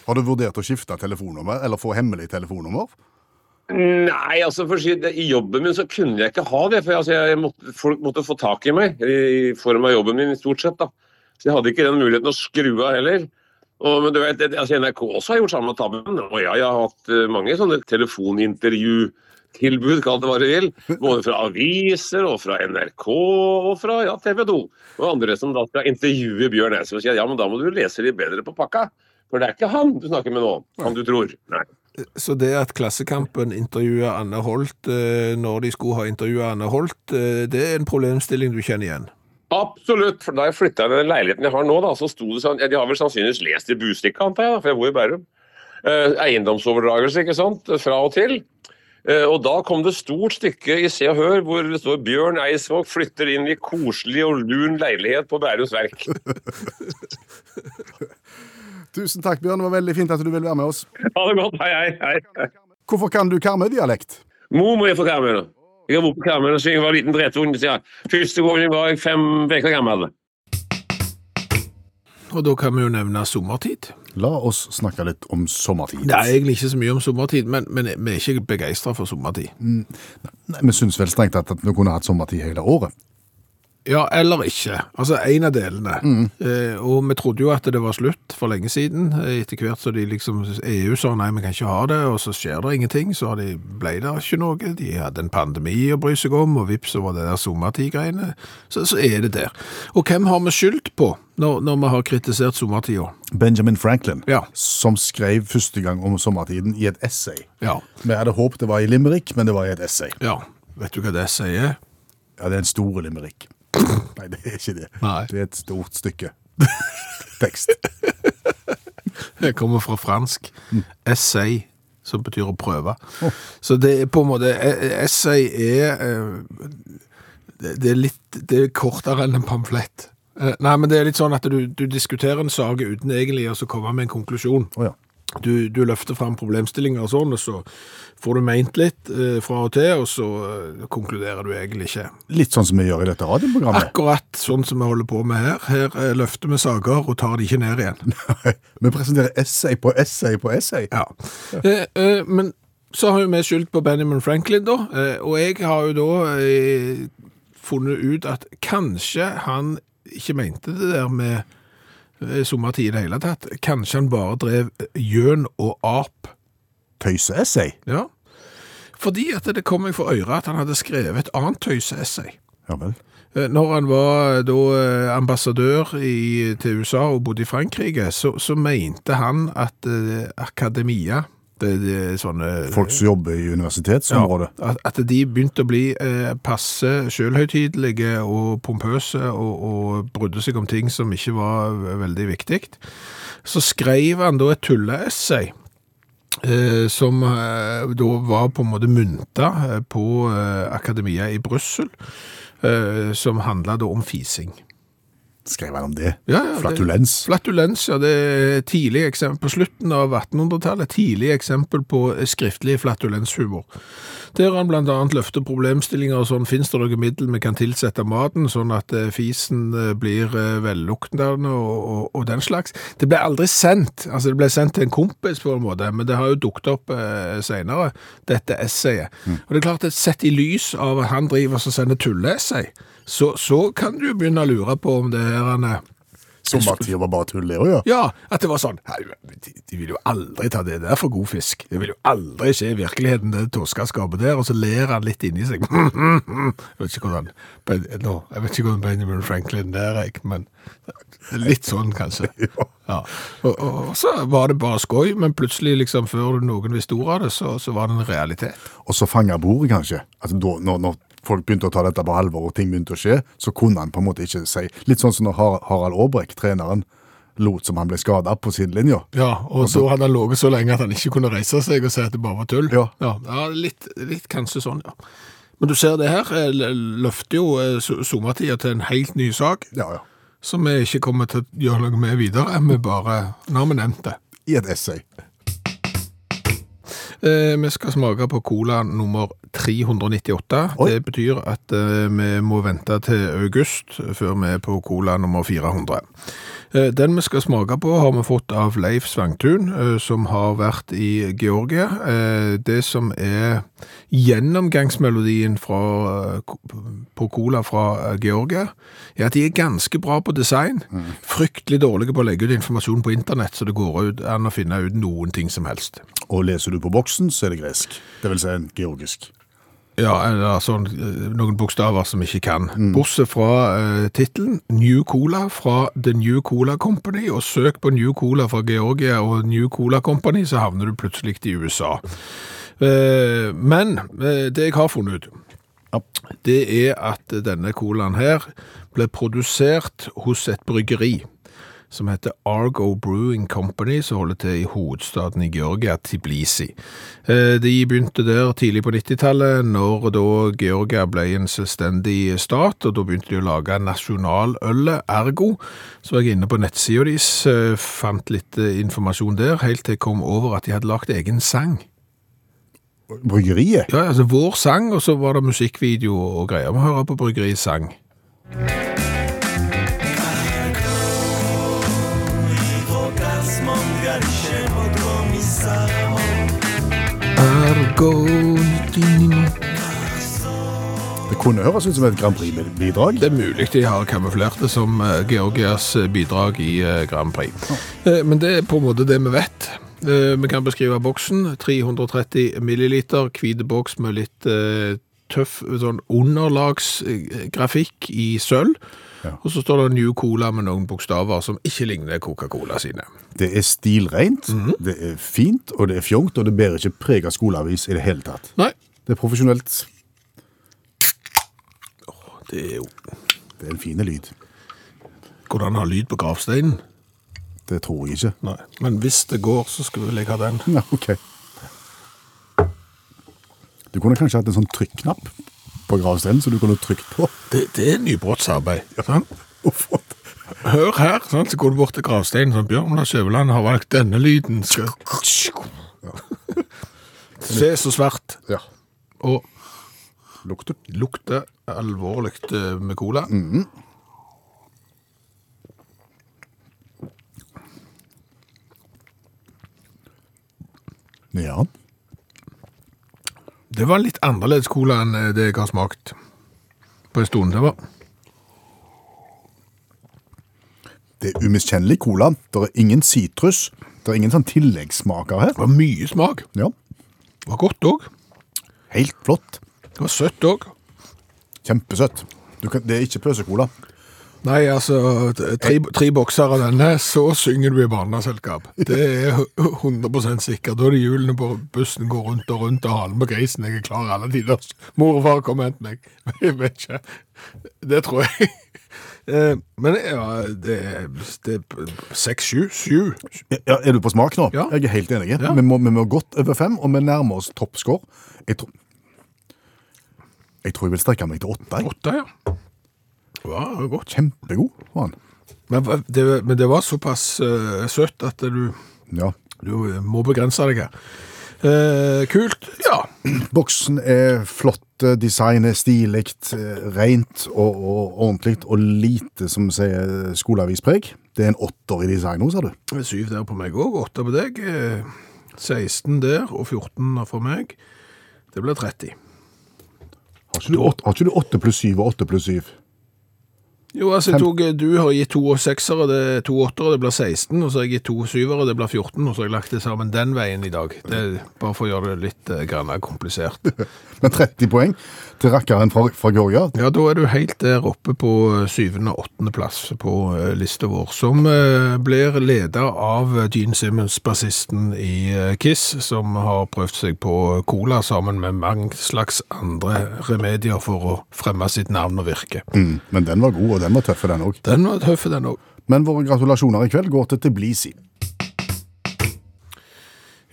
D: Har du vurdert å skifte telefonnummer, eller få hemmelig telefonnummer?
F: Nei, altså for å si det, i jobben min så kunne jeg ikke ha det. For jeg, altså, jeg måtte, folk måtte få tak i meg i i form av jobben min, stort sett. da. Så jeg hadde ikke den muligheten å skru av heller. Og, men du vet, det, altså, NRK også har gjort samme tabben. Og ja, jeg har hatt eh, mange sånne telefonintervjutilbud, kall det hva du vil. Både fra aviser og fra NRK og fra ja, TV 2. Og andre som da skal intervjue Bjørn Eidsvåg og sier ja, men da må du lese litt bedre på pakka. For det er ikke han du snakker med nå, han du tror. Nei.
C: Så det at Klassekampen intervjuet Anne Holt eh, når de skulle ha intervjuet Anne Holt, eh, det er en problemstilling du kjenner igjen?
F: Absolutt. for Da jeg flytta inn i den leiligheten jeg har nå, da, så sto det sånn ja, De har vel sannsynligvis lest i Bustikka, antar jeg, da, for jeg bor i Bærum. Eh, eiendomsoverdragelse, ikke sant. Fra og til. Eh, og da kom det stort stykke i Se og Hør hvor det står 'Bjørn Eidsvåg flytter inn i koselig og lun leilighet på Bærums Verk'.
D: Tusen takk, Bjørn. Det var veldig fint at du ville være med oss.
F: Ha det godt. Hei, hei. hei. hei.
D: Hvorfor kan du Karmøy-dialekt?
F: Mor må jeg få karamell. Jeg har bodd på karamell siden jeg var liten drettunge. sier jeg. Første gang jeg var fem uker gammel.
C: Og da kan vi jo nevne sommertid.
D: La oss snakke litt om sommertid.
C: Det er egentlig ikke så mye om sommertid, men, men vi er ikke begeistra for sommertid.
D: Nei, Vi syns vel strengt tatt at vi kunne hatt sommertid hele året.
C: Ja, eller ikke. Altså en av delene. Eh, og vi trodde jo at det var slutt for lenge siden. Eh, Etter hvert så de liksom EU sa nei, vi kan ikke ha det, og så skjer det ingenting. Så har de, ble det ikke noe. De hadde en pandemi å bry seg om, og vips så var det der sommertid-greiene. Så, så er det der. Og hvem har vi skyldt på når, når vi har kritisert sommertida?
D: Benjamin Franklin,
C: Ja.
D: som skrev første gang om sommertiden i et essay.
C: Ja.
D: Vi hadde håpet det var i Limerick, men det var i et essay.
C: ja. Vet du hva det sier?
D: Ja, det er en stor limerick. Nei, det er ikke det.
C: Nei.
D: Det er et stort stykke tekst.
C: Det kommer fra fransk. Essay, som betyr å prøve. Så det er på en måte e- Essay er eh, Det det er litt Det er kortere enn en pamflett. Eh, Nei, men det er litt sånn at du, du diskuterer en sak uten egentlig å så komme med en konklusjon.
D: Å ja.
C: Du, du løfter fram problemstillinger og sånn, og så får du meint litt eh, fra og til, og så eh, konkluderer du egentlig ikke.
D: Litt sånn som vi gjør i dette radioprogrammet.
C: Akkurat sånn som vi holder på med her. Her eh, løfter vi saker og tar de ikke ned igjen.
D: Vi presenterer essay på essay på essay.
C: Ja. Eh, eh, men så har jo vi skyldt på Benjamin Franklin, da. Eh, og jeg har jo da eh, funnet ut at kanskje han ikke mente det der med eh, sommertid i det hele tatt. Kanskje han bare drev eh, gjøn og ap.
D: Tøyseessay.
C: Ja. Fordi at det kom meg for øret at han hadde skrevet et annet tøyseessay.
D: Ja vel.
C: Eh, Når han var da eh, ambassadør i, til USA og bodde i Frankrike, så, så mente han at eh, akademia, det, det er sånne
D: Folk som jobber i universitetsområdet.
C: at, at de begynte å bli eh, passe selvhøytidelige og pompøse og, og brydde seg om ting som ikke var veldig viktig. Så skrev han da et tulleessay. Eh, som eh, da var på en måte mynta eh, på eh, akademia i Brussel, eh, som handla da om fising.
D: Skrev han om det?
C: Ja, ja, det-
D: Flatulens.
C: Flatulens, ja, det er et tidlig eksempel på slutten av 1800-tallet, et tidlig eksempel på skriftlig flatulenshumor. Der han blant annet løfter problemstillinger og sånn, finnes det noe middel vi kan tilsette maten, sånn at eh, fisen eh, blir eh, velluktende og, og, og den slags. Det ble aldri sendt, altså det ble sendt til en kompis på en måte, men det har jo dukt opp eh, senere, dette essayet. Og det er klart at sett i lys av at han driver og sender tulleessay, så, så kan du begynne å lure på om det her han eh, er
D: Sommertid var bare tull, det òg, ja.
C: ja, at det var sånn «Nei, de, de vil jo aldri ta det der for god fisk. Det vil jo aldri skje i virkeligheten, det toskaskapet der. Og så ler han litt inni seg. Jeg vet ikke hvordan, Ben- nå, jeg vet ikke hvordan Benjamin Franklin der er, men litt sånn kanskje. Ja. Og, og, og så var det bare skoj, men plutselig, liksom, før noen visste ordet av det, så, så var det en realitet.
D: Og så fanga bordet, kanskje. Altså, da, når, når folk begynte å ta dette på alvor, og ting begynte å skje, så kunne han på en måte ikke si Litt sånn som når Har- Harald Aabrekk, treneren, lot som han ble skada på sidelinja.
C: Ja, og så hadde han ligget så lenge at han ikke kunne reise seg og si at det bare var tull.
D: Ja.
C: ja, ja, litt, litt kanskje sånn, ja. Men du ser det her, eh, l- løfter jo eh, so- sommertida til en helt ny sak,
D: Ja, ja.
C: som vi ikke kommer til å gjøre noe med videre, vi bare, nå har vi nevnt det.
D: I et essay.
C: Eh, Vi skal smake på cola nummer 398.
D: Oi.
C: Det betyr at eh, vi må vente til august før vi er på cola nummer 400. Eh, Den vi skal smake på har vi fått av Leif Svangtun, eh, som har vært i Georgia. Eh, Det som er gjennomgangsmelodien fra, eh, ko- på cola fra eh, Georgia, er at de er ganske bra på design, fryktelig dårlige på å legge ut informasjon på internett, så det går ut an å finne ut noen ting som helst.
D: Og leser du på boksen, så er det gresk. Det vil si en georgisk.
C: Ja, eller sånn, eh, noen bokstaver som ikke kan. Bortsett fra eh, tittelen New Cola fra The New Cola Company, og søk på New Cola fra Georgia og New Cola Company, så havner du plutselig i USA. Eh, men eh, det jeg har funnet ut,
D: Ja.
C: det er at denne colaen her ble produsert hos et bryggeri som heter Argo Brewing Company, som holder til i hovedstaden i Georgia, Tbilisi. Eh, De begynte der tidlig på 90-tallet, når da Georgia ble en selvstendig stat, og da begynte de å lage nasjonalølet Ergo. Så var jeg inne på nettsida deres, eh, fant litt eh, informasjon der, helt til jeg kom over at de hadde lagd egen sang.
D: Bryggeriet?
C: Ja, altså vår sang, og så var det musikkvideo og greier. Vi hører på bryggeriets sang. Ergo din-
D: Det kunne høres ut som et Grand Prix-bidrag.
C: Det er mulig de har kamuflert det som eh, Georgias eh, bidrag i eh, Grand Prix. Eh, Men det er på en måte det vi vet. Eh, Vi kan beskrive boksen. 330 milliliter, hvit boks med litt eh, tøff sånn underlagsgrafikk i sølv. Og så står det New Cola med noen bokstaver som ikke ligner Coca-Cola sine.
D: Det er stilrent,
C: Mhm.
D: det er fint, og det er fjongt, og det bærer ikke preg av skoleavis i det hele tatt.
C: Nei,
D: Det er profesjonelt.
C: det er jo
D: Det er en fin lyd.
C: Hvordan ha lyd på gravsteinen?
D: Det tror jeg ikke.
C: Nei. Men hvis det går, så skal vel jeg ha den.
D: Ja, ok. Du kunne kanskje hatt en sånn trykknapp på gravsteinen, så du kunne trykt på.
C: Det, det er nybrottsarbeid. sant?
D: og fått-
C: Hør her, sant? så går du bort til gravsteinen som Bjørn Lars Skjæveland har valgt denne lyden. Skal... Se så svært,
D: Ja.
C: og
D: Lukter. Mm.
C: lukter alvorlig eh, med cola.
D: Ja.
C: Det var litt annerledes cola enn eh, det jeg har smakt på en stund. Det var
D: Det er umiskjennelig cola. Det er ingen sitrus. Det er ingen sånn tilleggssmaker her.
C: det var mye smak.
D: Ja.
C: Det var godt òg.
D: Helt flott.
C: Det var søtt òg.
D: Kjempesøtt. Du kan, det er ikke pøsekola.
C: Nei, altså, t- tre, tre bokser av denne, så synger du i barneselskap. Det er 100 sikkert. Da er det hjulene på bussen går rundt og rundt, og halen på grisen. Jeg er klar alle tider. Mor og far, kom og hent meg. Jeg vet ikke. Det tror jeg. Eh, Men ja, det er- det er seks, sju, sju.
D: Ja, er du på smak nå?
C: Ja.
D: Jeg er helt enig.
C: Ja.
D: Vi, må, vi må godt over fem, og vi nærmer oss toppscore. Jeg, tror- jeg tror jeg vil strekke meg til åtte. jeg.
C: Åtte, ja. Det var godt.
D: Kjempegod var han.
C: Men hva- det, men det var såpass eh, søtt at du,
D: Ja.
C: du må begrense deg her. Eh, kult, ja.
D: Boksen er flott, eh, design er stilig, eh, rent og, og ordentlig, og lite som sier skoleavispreg. Det er en åtter i design nå, sa du.
C: Syv der på meg òg, åtte på deg. eh, 16 der og 14 for meg. Det blir 30.
D: Har ikke du åtte, har ikke du åtte pluss syv og åtte pluss syv?
C: Jo, altså, jeg tok, eh, du har gitt to og seksere, det er to åttere, det blir 16. Og så har jeg gitt to syvere, det blir 14. Og så har jeg lagt det sammen den veien i dag. Det, er bare for å gjøre det litt eh, grann komplisert.
D: Men 30 poeng til rakkeren fra, fra Georgia.
C: Ja, da er du helt der oppe på eh, syvende og åttende plass på eh, lista vår, som eh, blir leder av Gene Simmons, bassisten i eh, Kiss, som har prøvd seg på cola sammen med mange slags andre remedier for å fremme sitt navn og virke.
D: Mm, men den var god, og den var tøff, den òg.
C: Den var tøff, den òg.
D: Men våre gratulasjoner i kveld går til Tbilisi.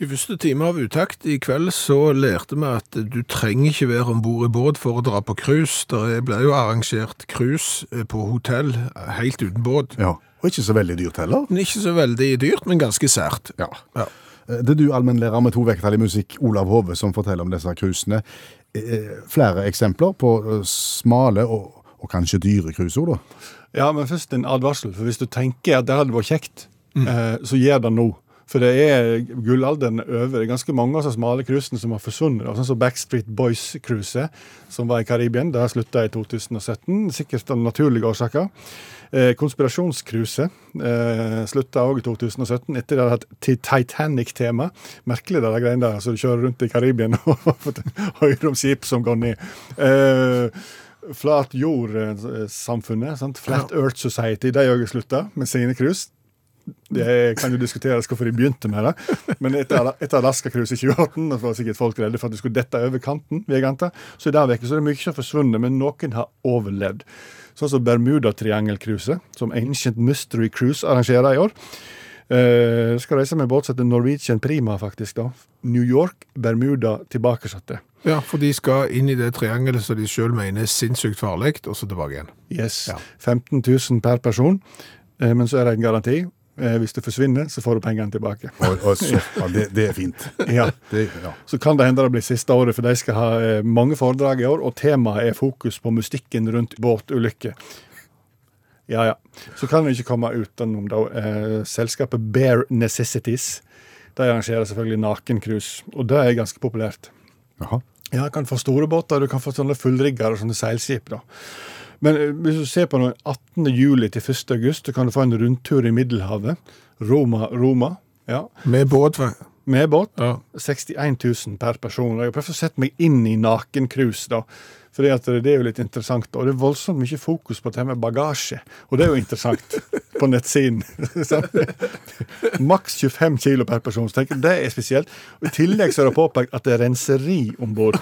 C: I første time av utakt i kveld så lærte vi at du trenger ikke være ombord i båt for å dra på cruise. Det ble jo arrangert cruise eh, på hotell eh, helt uten båt.
D: Ja, og ikke så veldig dyrt heller.
C: Men Ikke så veldig dyrt, men ganske sært.
D: Ja. Det er du, allmennlærer med to vekttall i musikk, Olav Hove, som forteller om disse cruisene. Eh, Flere eksempler på eh, smale og, og kanskje dyre cruise også, da.
E: Ja, men først en advarsel. For hvis du tenker at det hadde vært kjekt, eh, så gjør det nå. For det er gullalderen er over. Det er ganske mange av de smale cruisene som har forsvunnet. da, Sånn som Backstreet Boys-cruiset, som var i Karibien. Det har slutta i 2017, sikkert av naturlige årsaker. Eh, Konspirasjonscruiset eh, slutta òg i 2017, etter det hadde hatt ti- Titanic-tema. Merkelig, det der greiene der. Så du kjører rundt i Karibien og fått hører om skip som går ned. Eh, Flat eh, jord-samfunnet, sant? Flat Earth Society, de òg slutta med sine cruise. Det kan jo diskuteres hvorfor de begynte med det. Men etter, Ala- etter Alaska-cruiset i 2018 da var sikkert folk redde for at de skulle dette over kanten. vil jeg anta. Så i dag vekk, så er det mye som har forsvunnet, men noen har overlevd. Sånn som Bermudatriangelcruiset, som Ancient Mystery Cruise arrangerer i år. Eh, skal reise med båt som heter Norwegian Prima, faktisk. da. New York, Bermuda, tilbakesatte.
C: Ja, for de skal inn i det triangelet som de sjøl mener er sinnssykt farlig, og så tilbake igjen.
E: Yes.
C: Ja.
E: 15 000 per person, eh, men så er det en garanti. Eh, Hvis du forsvinner, så får du pengene tilbake.
D: Og, og så, ja, det, det er fint.
E: Ja.
D: Det, ja.
E: Så kan det hende det blir siste året, for de skal ha eh, mange foredrag i år, og temaet er fokus på mystikken rundt båtulykker. Ja, ja. Så kan det ikke komme utenom da, eh, selskapet Bare Necessities. De arrangerer selvfølgelig nakencruise, og det er ganske populært.
D: Jaha.
E: Ja, du kan få store båter, du kan få sånne fullrigger og sånne seilskip. da. Men eh, hvis du ser på den 18. juli til 1. august, så kan du få en rundtur i Middelhavet. Roma, Roma. Ja.
C: Med båt, va?
E: Med båt.
C: Ja.
E: 61 000 per person. Og Jeg har prøvd å sette meg inn i nakencruise, da. Fordi at det er jo litt interessant. Og det er voldsomt mye fokus på det med bagasje. Og det er jo interessant på nettsiden. Så- Maks 25 kilo per person. Så tenker jeg, Det er spesielt. Og I tillegg så er det påpekt at det er renseri om bord.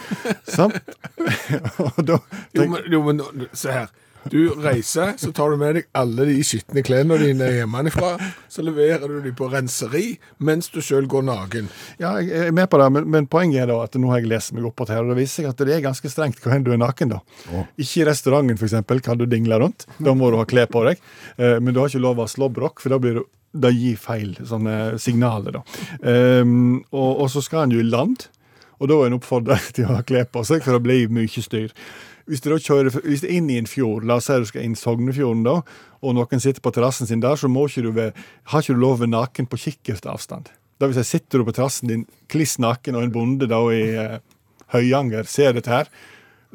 E: Sant? Og da
C: Jo,
E: tenker-
C: men, jo, men nå- se her. Du reiser, så tar du med deg alle de skitne klærne dine hjemmefra. Så leverer du dem på renseri mens du sjøl går naken.
E: Ja, jeg er med på det, men, men poenget er da at nå har jeg lest meg opp på det, her, og det viser seg at det er ganske strengt hvor hen du er naken. da. Ikke i restauranten, f.eks., kan du dingle rundt. Da må du ha klær på deg. Eh, men du har ikke lov å ha slåbrok, for da blir du det gir feil sånne signaler. da. Ehm, og, og så skal en jo i land, og da er en oppfordra til å ha klær på seg, for det blir mye styr. Hvis du da kjører hvis du er inn i en fjord, la oss si du skal inn Sognefjorden, da, og noen sitter på terrassen sin der, så må ikke du være, har ikke du lov å være naken på kikkertavstand. Det vil si, sitter du på terrassen din kliss naken, og en bonde da i eh, Høyanger ser dette her,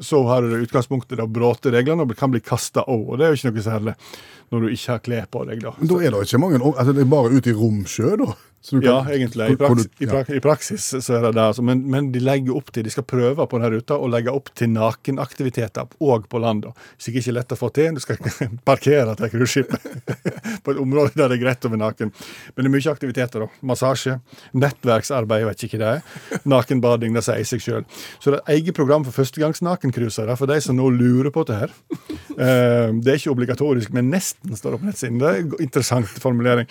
E: så har du det utgangspunktet da bråte reglene og kan bli kasta òg. Og det er jo ikke noe særlig når du ikke har klær på deg, da.
D: Men da er det ikke mange altså Det er bare ute i romsjø, da? Så du
E: Ja,
D: kan-
E: egentlig. I,
D: hvor- hvor
E: praks,
D: du-
E: i, prak, I praksis så er det det. Altså. Men, men de legger opp til, de skal prøve på denne ruta og legge opp til nakenaktiviteter òg på land. da. Sikkert ikke lett å få til. Du skal parkere til cruiseskipet på et område der det er greit å være naken. Men det er mye aktiviteter. da. Massasje, nettverksarbeid, jeg vet ikke hva det er. Nakenbading, det sier seg sjøl. Så det er et eget program for førstegangsnakencruisere, for de som nå lurer på det her. Eh, Det er ikke obligatorisk, men nesten står det på nettsiden. Det er en go- interessant formulering.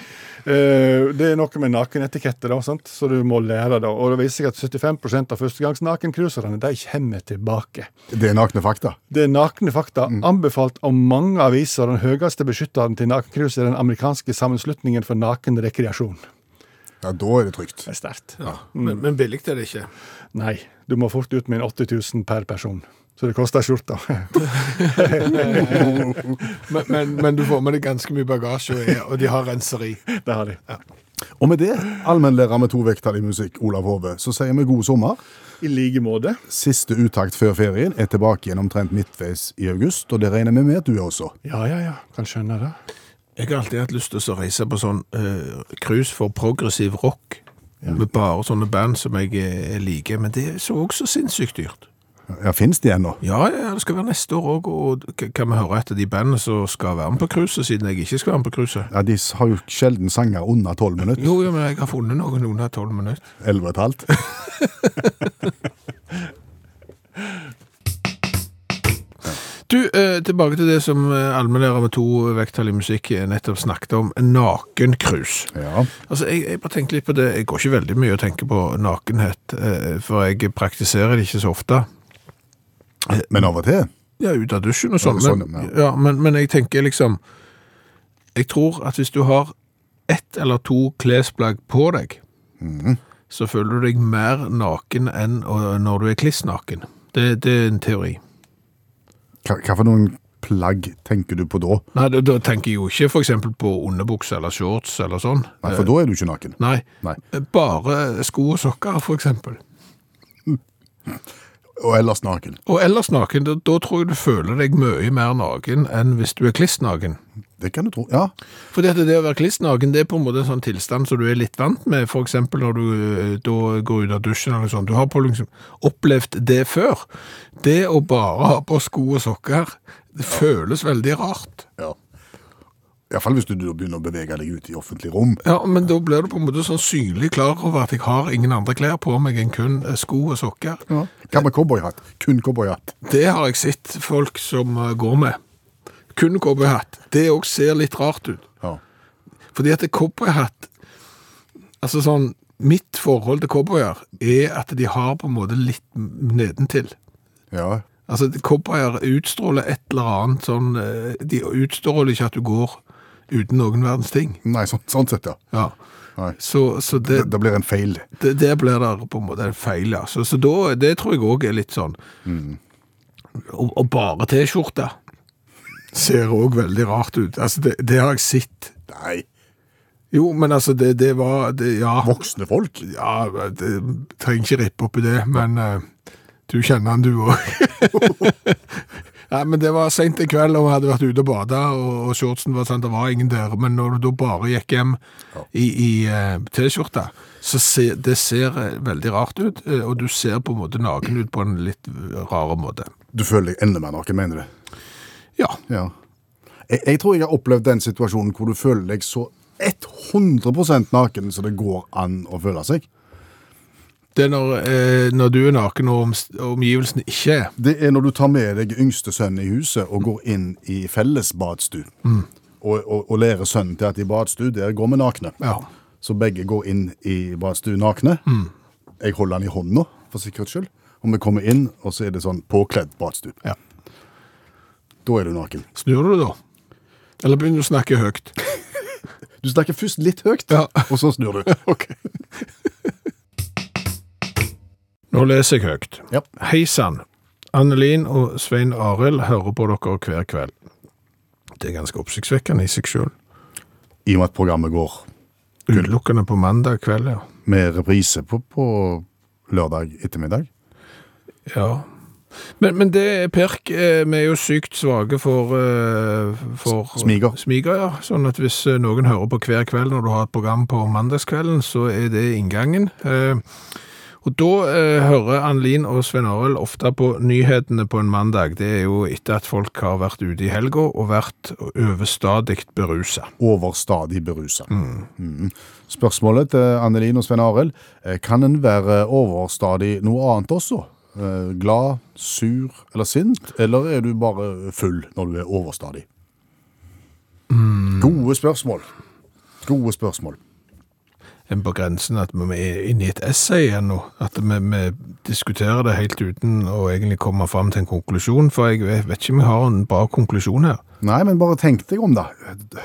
E: Eh, Det er noe med nakenetikette, da, sant? så du må lære det. Og det viser seg at 75 av førstegangsnakencruiserne de kommer tilbake.
D: ja. Det er nakne fakta.
E: Det er nakne fakta, anbefalt av mange aviser. Den høyeste beskytteren til nakencruise er den amerikanske sammenslutningen for naken rekreasjon.
D: Ja, Da er det trygt.
E: Det er sterkt.
C: Men, men billig er det ikke.
E: Nei, du må fort ut med en 80 000 per person. Så det koster skjorta.
C: Men, men, men du får med deg ganske mye bagasje, og, er- og de har renseri.
E: det har de.
D: Og med det, allmennlærer med to vekttall i musikk, Olav Hove, så sier vi god sommer.
E: I like måte.
D: Siste uttakt før ferien er tilbake igjen omtrent midtveis i august, og det regner vi med at du er også.
E: Ja, ja, ja. Kan skjønne det.
C: Jeg har alltid hatt lyst til å reise på sånn eh, cruise for progressiv rock. Med bare sånne band som jeg eh, liker. Men det er så også sinnssykt dyrt.
D: Ja, Fins de ennå?
C: Ja, ja, det skal være neste år òg, og k- kan vi høre etter de bandene som skal være med på cruiset, siden jeg ikke skal være med på cruiset?
D: Ja, de har jo sjelden sanger under tolv minutter.
C: Jo, jo, men jeg har funnet noen under tolv minutter.
D: Elleve og et halvt.
C: Du, eh, tilbake til det som eh, allmennlærer med to vekttall i musikk eh, nettopp snakket om, nakencruise.
D: Ja.
C: Altså, jeg, jeg bare tenkte litt på det. Jeg går ikke veldig mye og tenker på nakenhet, eh, for jeg praktiserer det ikke så ofte.
D: Men av og til.
C: Ja, ut av dusjen og sånn.
D: Ja,
C: Men,
D: sånn,
C: ja, men, men jeg tenker liksom
D: Mhm.
C: Jeg tror at hvis du har ett eller to klesplagg på deg, så føler du deg mer naken enn å- når du er kliss naken. Det, det er en teori.
D: Hva, hva for noen plagg tenker du på da?
C: Nei, da, da tenker jeg jo ikke for eksempel på underbukse eller shorts eller sånn.
D: Nei, For da er du ikke naken.
C: Nei, Eh,
D: Nei.
C: bare sko og sokker for eksempel.
D: Og ellers naken.
C: Og ellers naken, da, da tror jeg du føler deg mye mer naken enn hvis du er kliss naken.
D: Det kan du tro. Ja,
C: For det, det å være kliss naken, det er på en måte en sånn tilstand som du er litt vant med, for eksempel når du eh, da går ut av dusjen eller noe sånt. Du har på liksom opplevd det før. Det å bare ha på sko og sokker, det føles veldig rart.
D: Ja. Iallfall hvis du da begynner å bevege deg ut i offentlig rom.
C: Ja, men da blir du på en måte sånn synlig klar over at jeg har ingen andre klær på meg enn kun eh, sko og sokker.
D: Hva med cowboyhatt? Kun cowboyhatt.
C: Det har jeg sett folk som eh, går med. Kun cowboyhatt. Det òg ser litt rart ut.
D: Ja.
C: Fordi at cowboyhatt Altså sånn Mitt forhold til cowboyer er at de har på en måte litt nedentil.
D: ja.
C: Altså, cowboyer utstråler et eller annet sånn eh, De utstråler ikke at du går uten noen verdens ting.
D: Nei, sånn, sånn sett, ja.
C: Ja.
D: Nei.
C: Så, så det,
D: Det, det blir en feil.
C: det, der blir det på en måte en feil, ja. Så, så da, det tror jeg òg er litt sånn og, og bare T-skjorte ser òg veldig rart ut. Altså, det, det har jeg sett.
D: Nei.
C: Jo, men altså, det, det var det, Ja,
D: Voksne folk?
C: ja det, trenger ikke rippe opp i det, men eh, du kjenner han du òg. Nei, men Det var seint i kveld, og vi hadde vært ute og bada, og, og shortsen var sånn, det var ingen der. Men når du da bare gikk hjem i, i eh, T-skjorte, så ser det ser eh, veldig rart ut. eh, Og du ser på en måte naken ut på en litt rar måte.
D: Du føler deg enda mer naken, mener du?
C: Ja.
D: Ja. Jeg, jeg tror jeg har opplevd den situasjonen hvor du føler deg så 100 naken som det går an å føle seg.
C: Det er når, eh, når du er naken og omst- og omgivelsene ikke er.
D: Det er når du tar med deg yngste sønn i huset og går inn i felles badstue.
C: Mm.
D: Og, og, og lærer sønnen til at i badstue, der går vi nakne.
C: Ja. Mm.
D: Så begge går inn i badstue nakne. Jeg holder han i hånda, for sikkerhets skyld. Og vi kommer inn, og så er det sånn påkledd badstue.
C: Ja.
D: Da er du naken.
C: Snur du da? Eller begynner du å snakke høyt?
D: Du snakker først litt høyt,
C: Ja.
D: og så snur du.
C: Nå leser jeg høyt.
D: Ja.
C: Hei sann. Annelin og Svein Arild hører på dere hver kveld. Det er ganske oppsiktsvekkende i seg sjøl.
D: I og med at programmet går
C: Utelukkende på mandag kveld, ja.
D: med reprise på, på lørdag ettermiddag.
C: ja. Men, men det er Perk. eh, Vi er jo sykt svake for, eh, for
D: S- smiger.
C: smiger, ja. Sånn at hvis eh, noen hører på hver kveld når du har et program på mandagskvelden, så er det inngangen. Eh, Og da eh, hører Annelin og Svein Arild ofte på nyhetene på en mandag. Det er jo etter at folk har vært ute i helga og vært overstadig berusa.
D: Overstadig berusa. Mm. Spørsmålet til Annelin og Svein Arild eh, kan en være overstadig noe annet også? Eh, Glad, sur eller sint? Eller er du bare full når du er overstadig? Gode spørsmål. Gode spørsmål.
C: En på grensen at vi er inne i et essay igjen nå. At vi, vi diskuterer det helt uten å egentlig komme fram til en konklusjon. For jeg vet vet ikke om jeg har en bra konklusjon her.
D: Nei, men bare tenk deg om, da.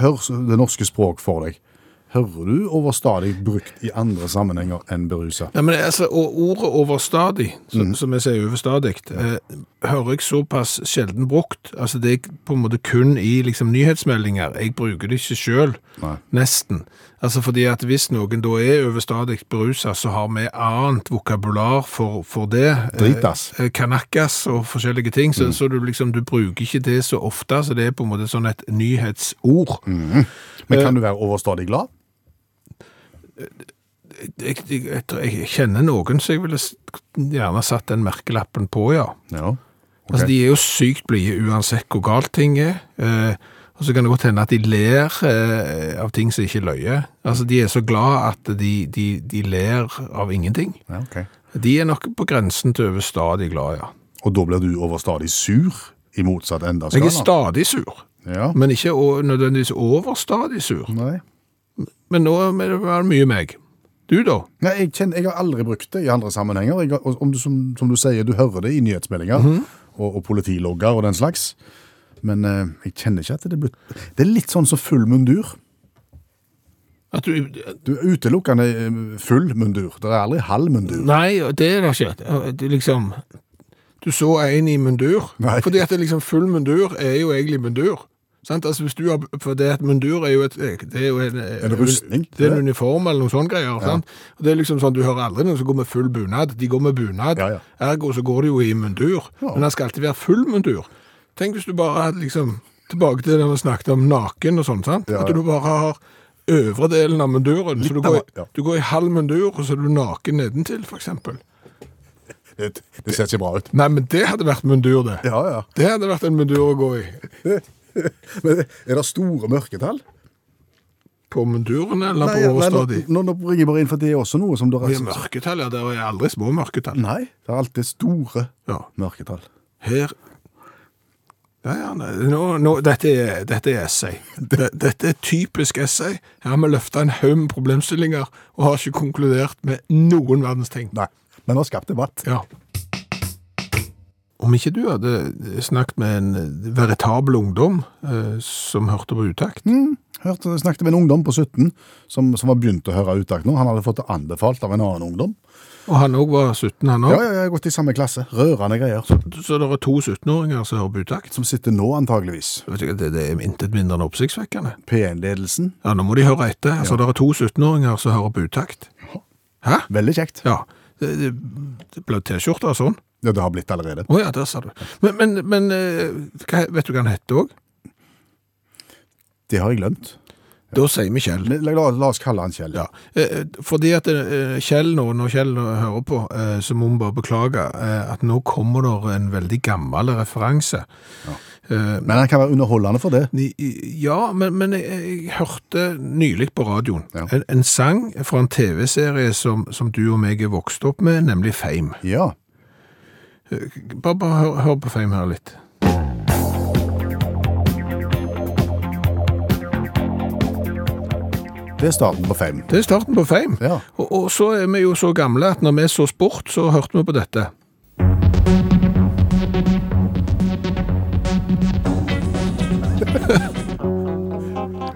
D: Hør det norske språk for deg. Hører du overstadig brukt i andre sammenhenger enn berusa?
C: Ja, men altså, og Ordet overstadig, så,
D: Mm.
C: som jeg sier overstadig, eh, hører jeg såpass sjelden brukt. Altså, Det er på en måte kun i liksom, nyhetsmeldinger. Jeg bruker det ikke sjøl,
D: Nei.
C: nesten. Altså, fordi at Hvis noen da er overstadig berusa, så har vi annet vokabular for, for det.
D: Dritas. Mm.
C: Eh, Kanakkas og forskjellige ting. Så, så du liksom, du bruker ikke det så ofte, så det er på en måte sånn et nyhetsord.
D: Mm. Men kan du være overstadig glad?
C: Jeg, jeg, jeg, tror- jeg kjenner noen som jeg ville s- gjerne satt den merkelappen på, ja.
D: Ja.
C: Altså, De er jo sykt blide uansett hvor galt ting er. Eh, og så kan det godt hende at de ler eh, av ting som ikke løyer. Altså, De er så glad at de, de, de ler av ingenting.
D: ja ok.
C: De er nok på grensen til overstadig glad, ja.
D: Og da blir du overstadig sur, i motsatt ende av
C: Jeg er
D: skalaen.
C: stadig sur,
D: Ja.
C: men ikke å- nødvendigvis overstadig sur.
D: Nei.
C: Men nå er det bare mye meg. Du, da?
D: Nei, jeg, kjenner, jeg har aldri brukt det i andre sammenhenger. Jeg har, og om du, som, som du sier, du hører det i nyhetsmeldinger og, og politilogger og den slags. Men eh, jeg kjenner ikke at det er blitt Det er litt sånn som full mundur.
C: At du,
D: Du er utelukkende eh, full mundur. Det er aldri halv mundur.
C: nei, det er det ikke. Det er Liksom, du så en i mundur.
D: Nei.
C: Fordi at det liksom full mundur er jo egentlig mundur. Sant? Altså hvis du har, for det at mundur er jo, et, det er jo en,
D: En rustning,
C: Det er
D: det.
C: en uniform eller noe sånn greier. Sant? Og det er liksom sånn, Du hører aldri noen som går med full bunad. De går med bunad.
D: Ja, ja.
C: Ergo så går de jo i mundur. Men han skal alltid være full mundur. Tenk hvis du bare hadde liksom Tilbake til det vi snakket om naken og sånn. sant?
D: Ja, ja.
C: At du bare har øvre delen av munduren. så du går, i-
D: av- ja.
C: du går i halv mundur, og så er du naken nedentil, f.eks.
D: Det, det ser ikke bra ut.
C: Nei, men det hadde vært mundur, det.
D: Ja, ja.
C: Det hadde vært en mundur å gå i.
D: Men er det store mørketall?
C: På munduren eller
D: Nei,
C: på
D: nei, nå,
C: overstad i?
D: nå, nå bringer jeg bare inn, for det er også noe som det
C: Det er mørketall, ja. Det er aldri små mørketall.
D: Nei, det er alltid store
C: Ja.
D: mørketall.
C: Her ja, ja, nei, nå, nå, dette, er, dette er essay. Det- Dette er typisk essay. Her har vi løfta en haug med problemstillinger og har ikke konkludert med noen verdens ting.
D: Nei, men det har skapt debatt.
C: Ja. Om ikke du hadde snakket med en veritabel ungdom eh, som hørte på utakt
D: Hørte, snakket med en ungdom på 17 som, som var begynt å høre utakt nå. Han hadde fått det anbefalt av en annen ungdom.
C: Og han òg var 17, han
D: Ja,
C: òg.
D: ja, jeg har gått i samme klasse. Rørende greier.
C: Så det er to 17-åringer som hører på utakt.
D: Som sitter nå, antageligvis.
C: Jeg vet ikke, Det, det er intet mindre enn oppsiktsvekkende.
D: P1-ledelsen.
C: Ja, Nå må de høre etter. Altså, Det er to 17-åringer som hører på utakt. Hæ?
D: Veldig kjekt.
C: Ja. Det, det, det ble T-skjorte og sånn.
D: Ja, det har blitt allerede.
C: Å ja, der sa du. Men, men, men eh, hva, vet du hva han heter òg?
D: Det har jeg glemt.
C: Da sier vi Kjell.
D: La, la, la oss kalle han Kjell.
C: Ja. Eh, eh, fordi at eh, Kjell nå, når Kjell hører på, eh, så må vi bare beklage eh, at nå kommer det en veldig gammel referanse.
D: Men han kan være underholdende for det.
C: Ni- i- Ja, men, men jeg, jeg hørte nylig på radioen
D: Ja.
C: en, en sang fra en TV-serie som, som du og meg er vokst opp med, nemlig Fame.
D: Ja.
C: Bare, bare hør, hør på Fame her litt.
D: Det er starten på fem.
C: Det er starten på Fame.
D: Ja.
C: Og, og så er vi jo så gamle at når vi så sport, så hørte vi på dette.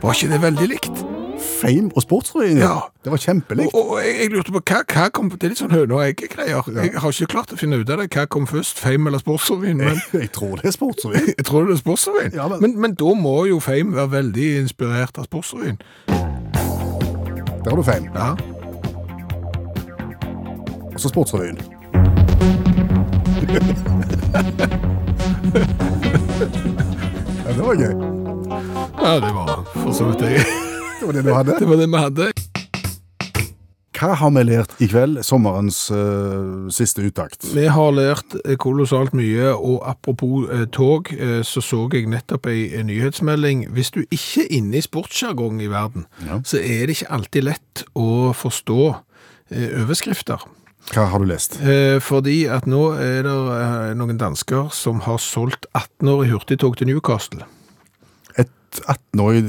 C: Var ikke det veldig likt?
D: Fame og sportsrevyen.
C: Ja.
D: Det var kjempelikt.
C: Og, og jeg, jeg lurte på hva, hva kom Det er litt sånn høne og egg-greier. Jeg har ikke klart å finne ut av det. Hva kom først, Fame eller Sportsrevyen? Men
D: Jeg tror det er sportsrevyen.
C: jeg tror det er Sportsrevyen.
D: Ja, men-
C: men, men da må jo Fame være veldig inspirert av Sportsrevyen.
D: Der har du fame.
C: Ja.
D: Og så sportsrevyen. ja, det var gøy.
C: ja, det var for så vidt det.
D: Det var det du hadde.
C: Det var det vi hadde.
D: Hva har vi lært i kveld? Sommerens eh, siste uttakt.
C: Vi har lært eh, kolossalt mye, og apropos eh, tog, eh, så så jeg nettopp ei ei nyhetsmelding. Hvis du ikke er inne i sportssjargong i verden, så er det ikke alltid lett å forstå eh, overskrifter.
D: Hva har du lest?
C: Eh, Fordi at nå er det eh, noen dansker som har solgt 18-årig hurtigtog til Newcastle.
D: Et 18-årig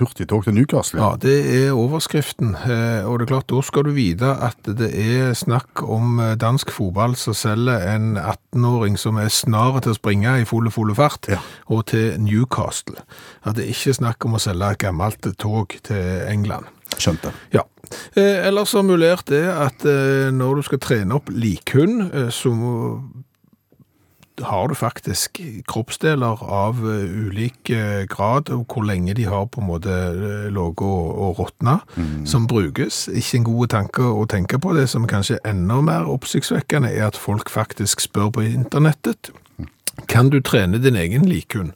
D: hurtigtog til Newcastle.
C: Ja, det er overskriften. Eh, Og det er klart, da skal du vite at det er snakk om eh, dansk fotball som selger en 18-åring som er snar til å springe i fulle, fulle fart,
D: Ja.
C: og til Newcastle. At det er ikke snakk om å selge et gammelt tog til England.
D: Skjønte.
C: Ja. Eh, ellers har mulert det at eh, når du skal trene opp likhund, eh, så har du faktisk kroppsdeler av eh, ulik eh, grad, og hvor lenge de har på en måte eh, ligget og, og råtna, som brukes. Ikke en god tanke å tenke på. Det som kanskje er enda mer oppsiktsvekkende, er at folk faktisk spør på internettet kan du trene din egen likhund?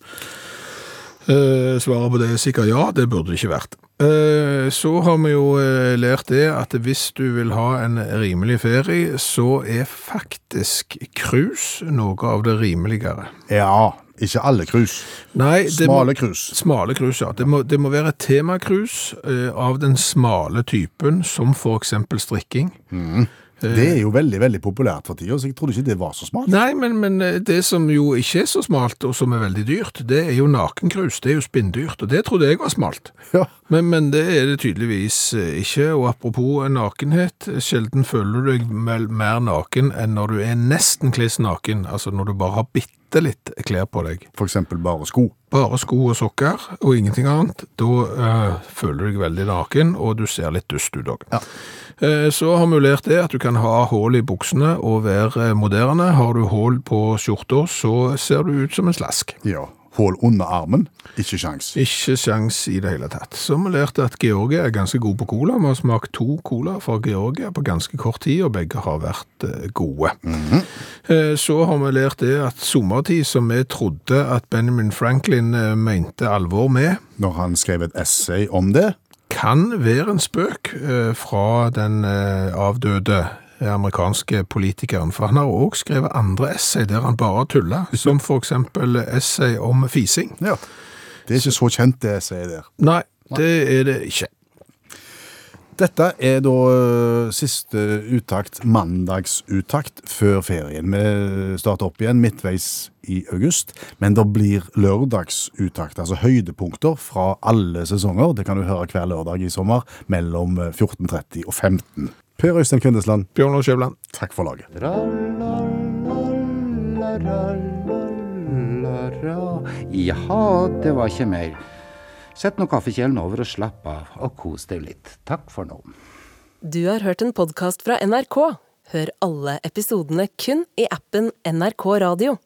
C: Eh, Svaret på det er sikkert ja, det burde det ikke vært. Eh, Så har vi jo eh, lært det at hvis du vil ha en rimelig ferie, så er faktisk krus noe av det rimeligere.
D: Ja, ikke alle krus.
C: Nei, det må-
D: Smale krus.
C: Smale krus, ja. Det må, det må være et temakrus eh, av den smale typen, som for eksempel strikking.
D: Det er jo veldig, veldig populært for tida, så jeg trodde ikke det var så smart.
C: Nei, men, men eh, det som jo ikke er så smalt, og som er veldig dyrt, det er jo nakenkrus. Det er jo spinndyrt, og det trodde jeg var smalt.
D: Ja.
C: Men, men det er det tydeligvis eh, ikke, og apropos nakenhet, sjelden føler du deg mel- mer naken enn når du er nesten kliss naken, altså når du bare har bitte bitte litt klær på deg,
D: For eksempel bare sko.
C: bare sko og sokker og ingenting annet, da eh, føler du deg veldig naken, og du ser litt dust ut òg. Eh, så har mulert det at du kan ha hull i buksene og være eh, moderne. Har du hull på skjorta, så ser du ut som en slask.
D: Ja. Hål under armen, ikke sjans.
C: Ikke sjans i det hele tatt. Så vi lærte at Georgia er ganske god på cola. Vi har smakt to cola fra Georgia på ganske kort tid, og begge har vært eh, gode. Eh, Så har vi lært det at sommertid, som vi trodde at Benjamin Franklin eh, mente alvor med,
D: Når han skrev et essay om det,
C: kan være en spøk eh, fra den eh, avdøde amerikanske politikeren, for han har også skrevet andre essay der han bare tuller, som for eksempel essay om fising.
D: ja. det er ikke så kjent det essayet der.
C: Nei, det er det ikke.
D: Dette er da ø, siste uttakt, mandagsuttakt, før ferien. Vi starter opp igjen midtveis i august, men det blir lørdagsuttakt, altså høydepunkter fra alle sesonger. Det kan du høre hver lørdag i sommer mellom 14.30 og 15. Per Øystein Kvindesland,
C: Bjørnar Skjævland.
D: takk for laget.
B: Tra-la-la-la-la-la. Jaha, det var ikke mer. Sett nå kaffekjelen over og slapp av, og kos deg litt. Takk for nå.
A: Du har hørt en podkast fra NRK. Hør alle episodene kun i appen NRK Radio.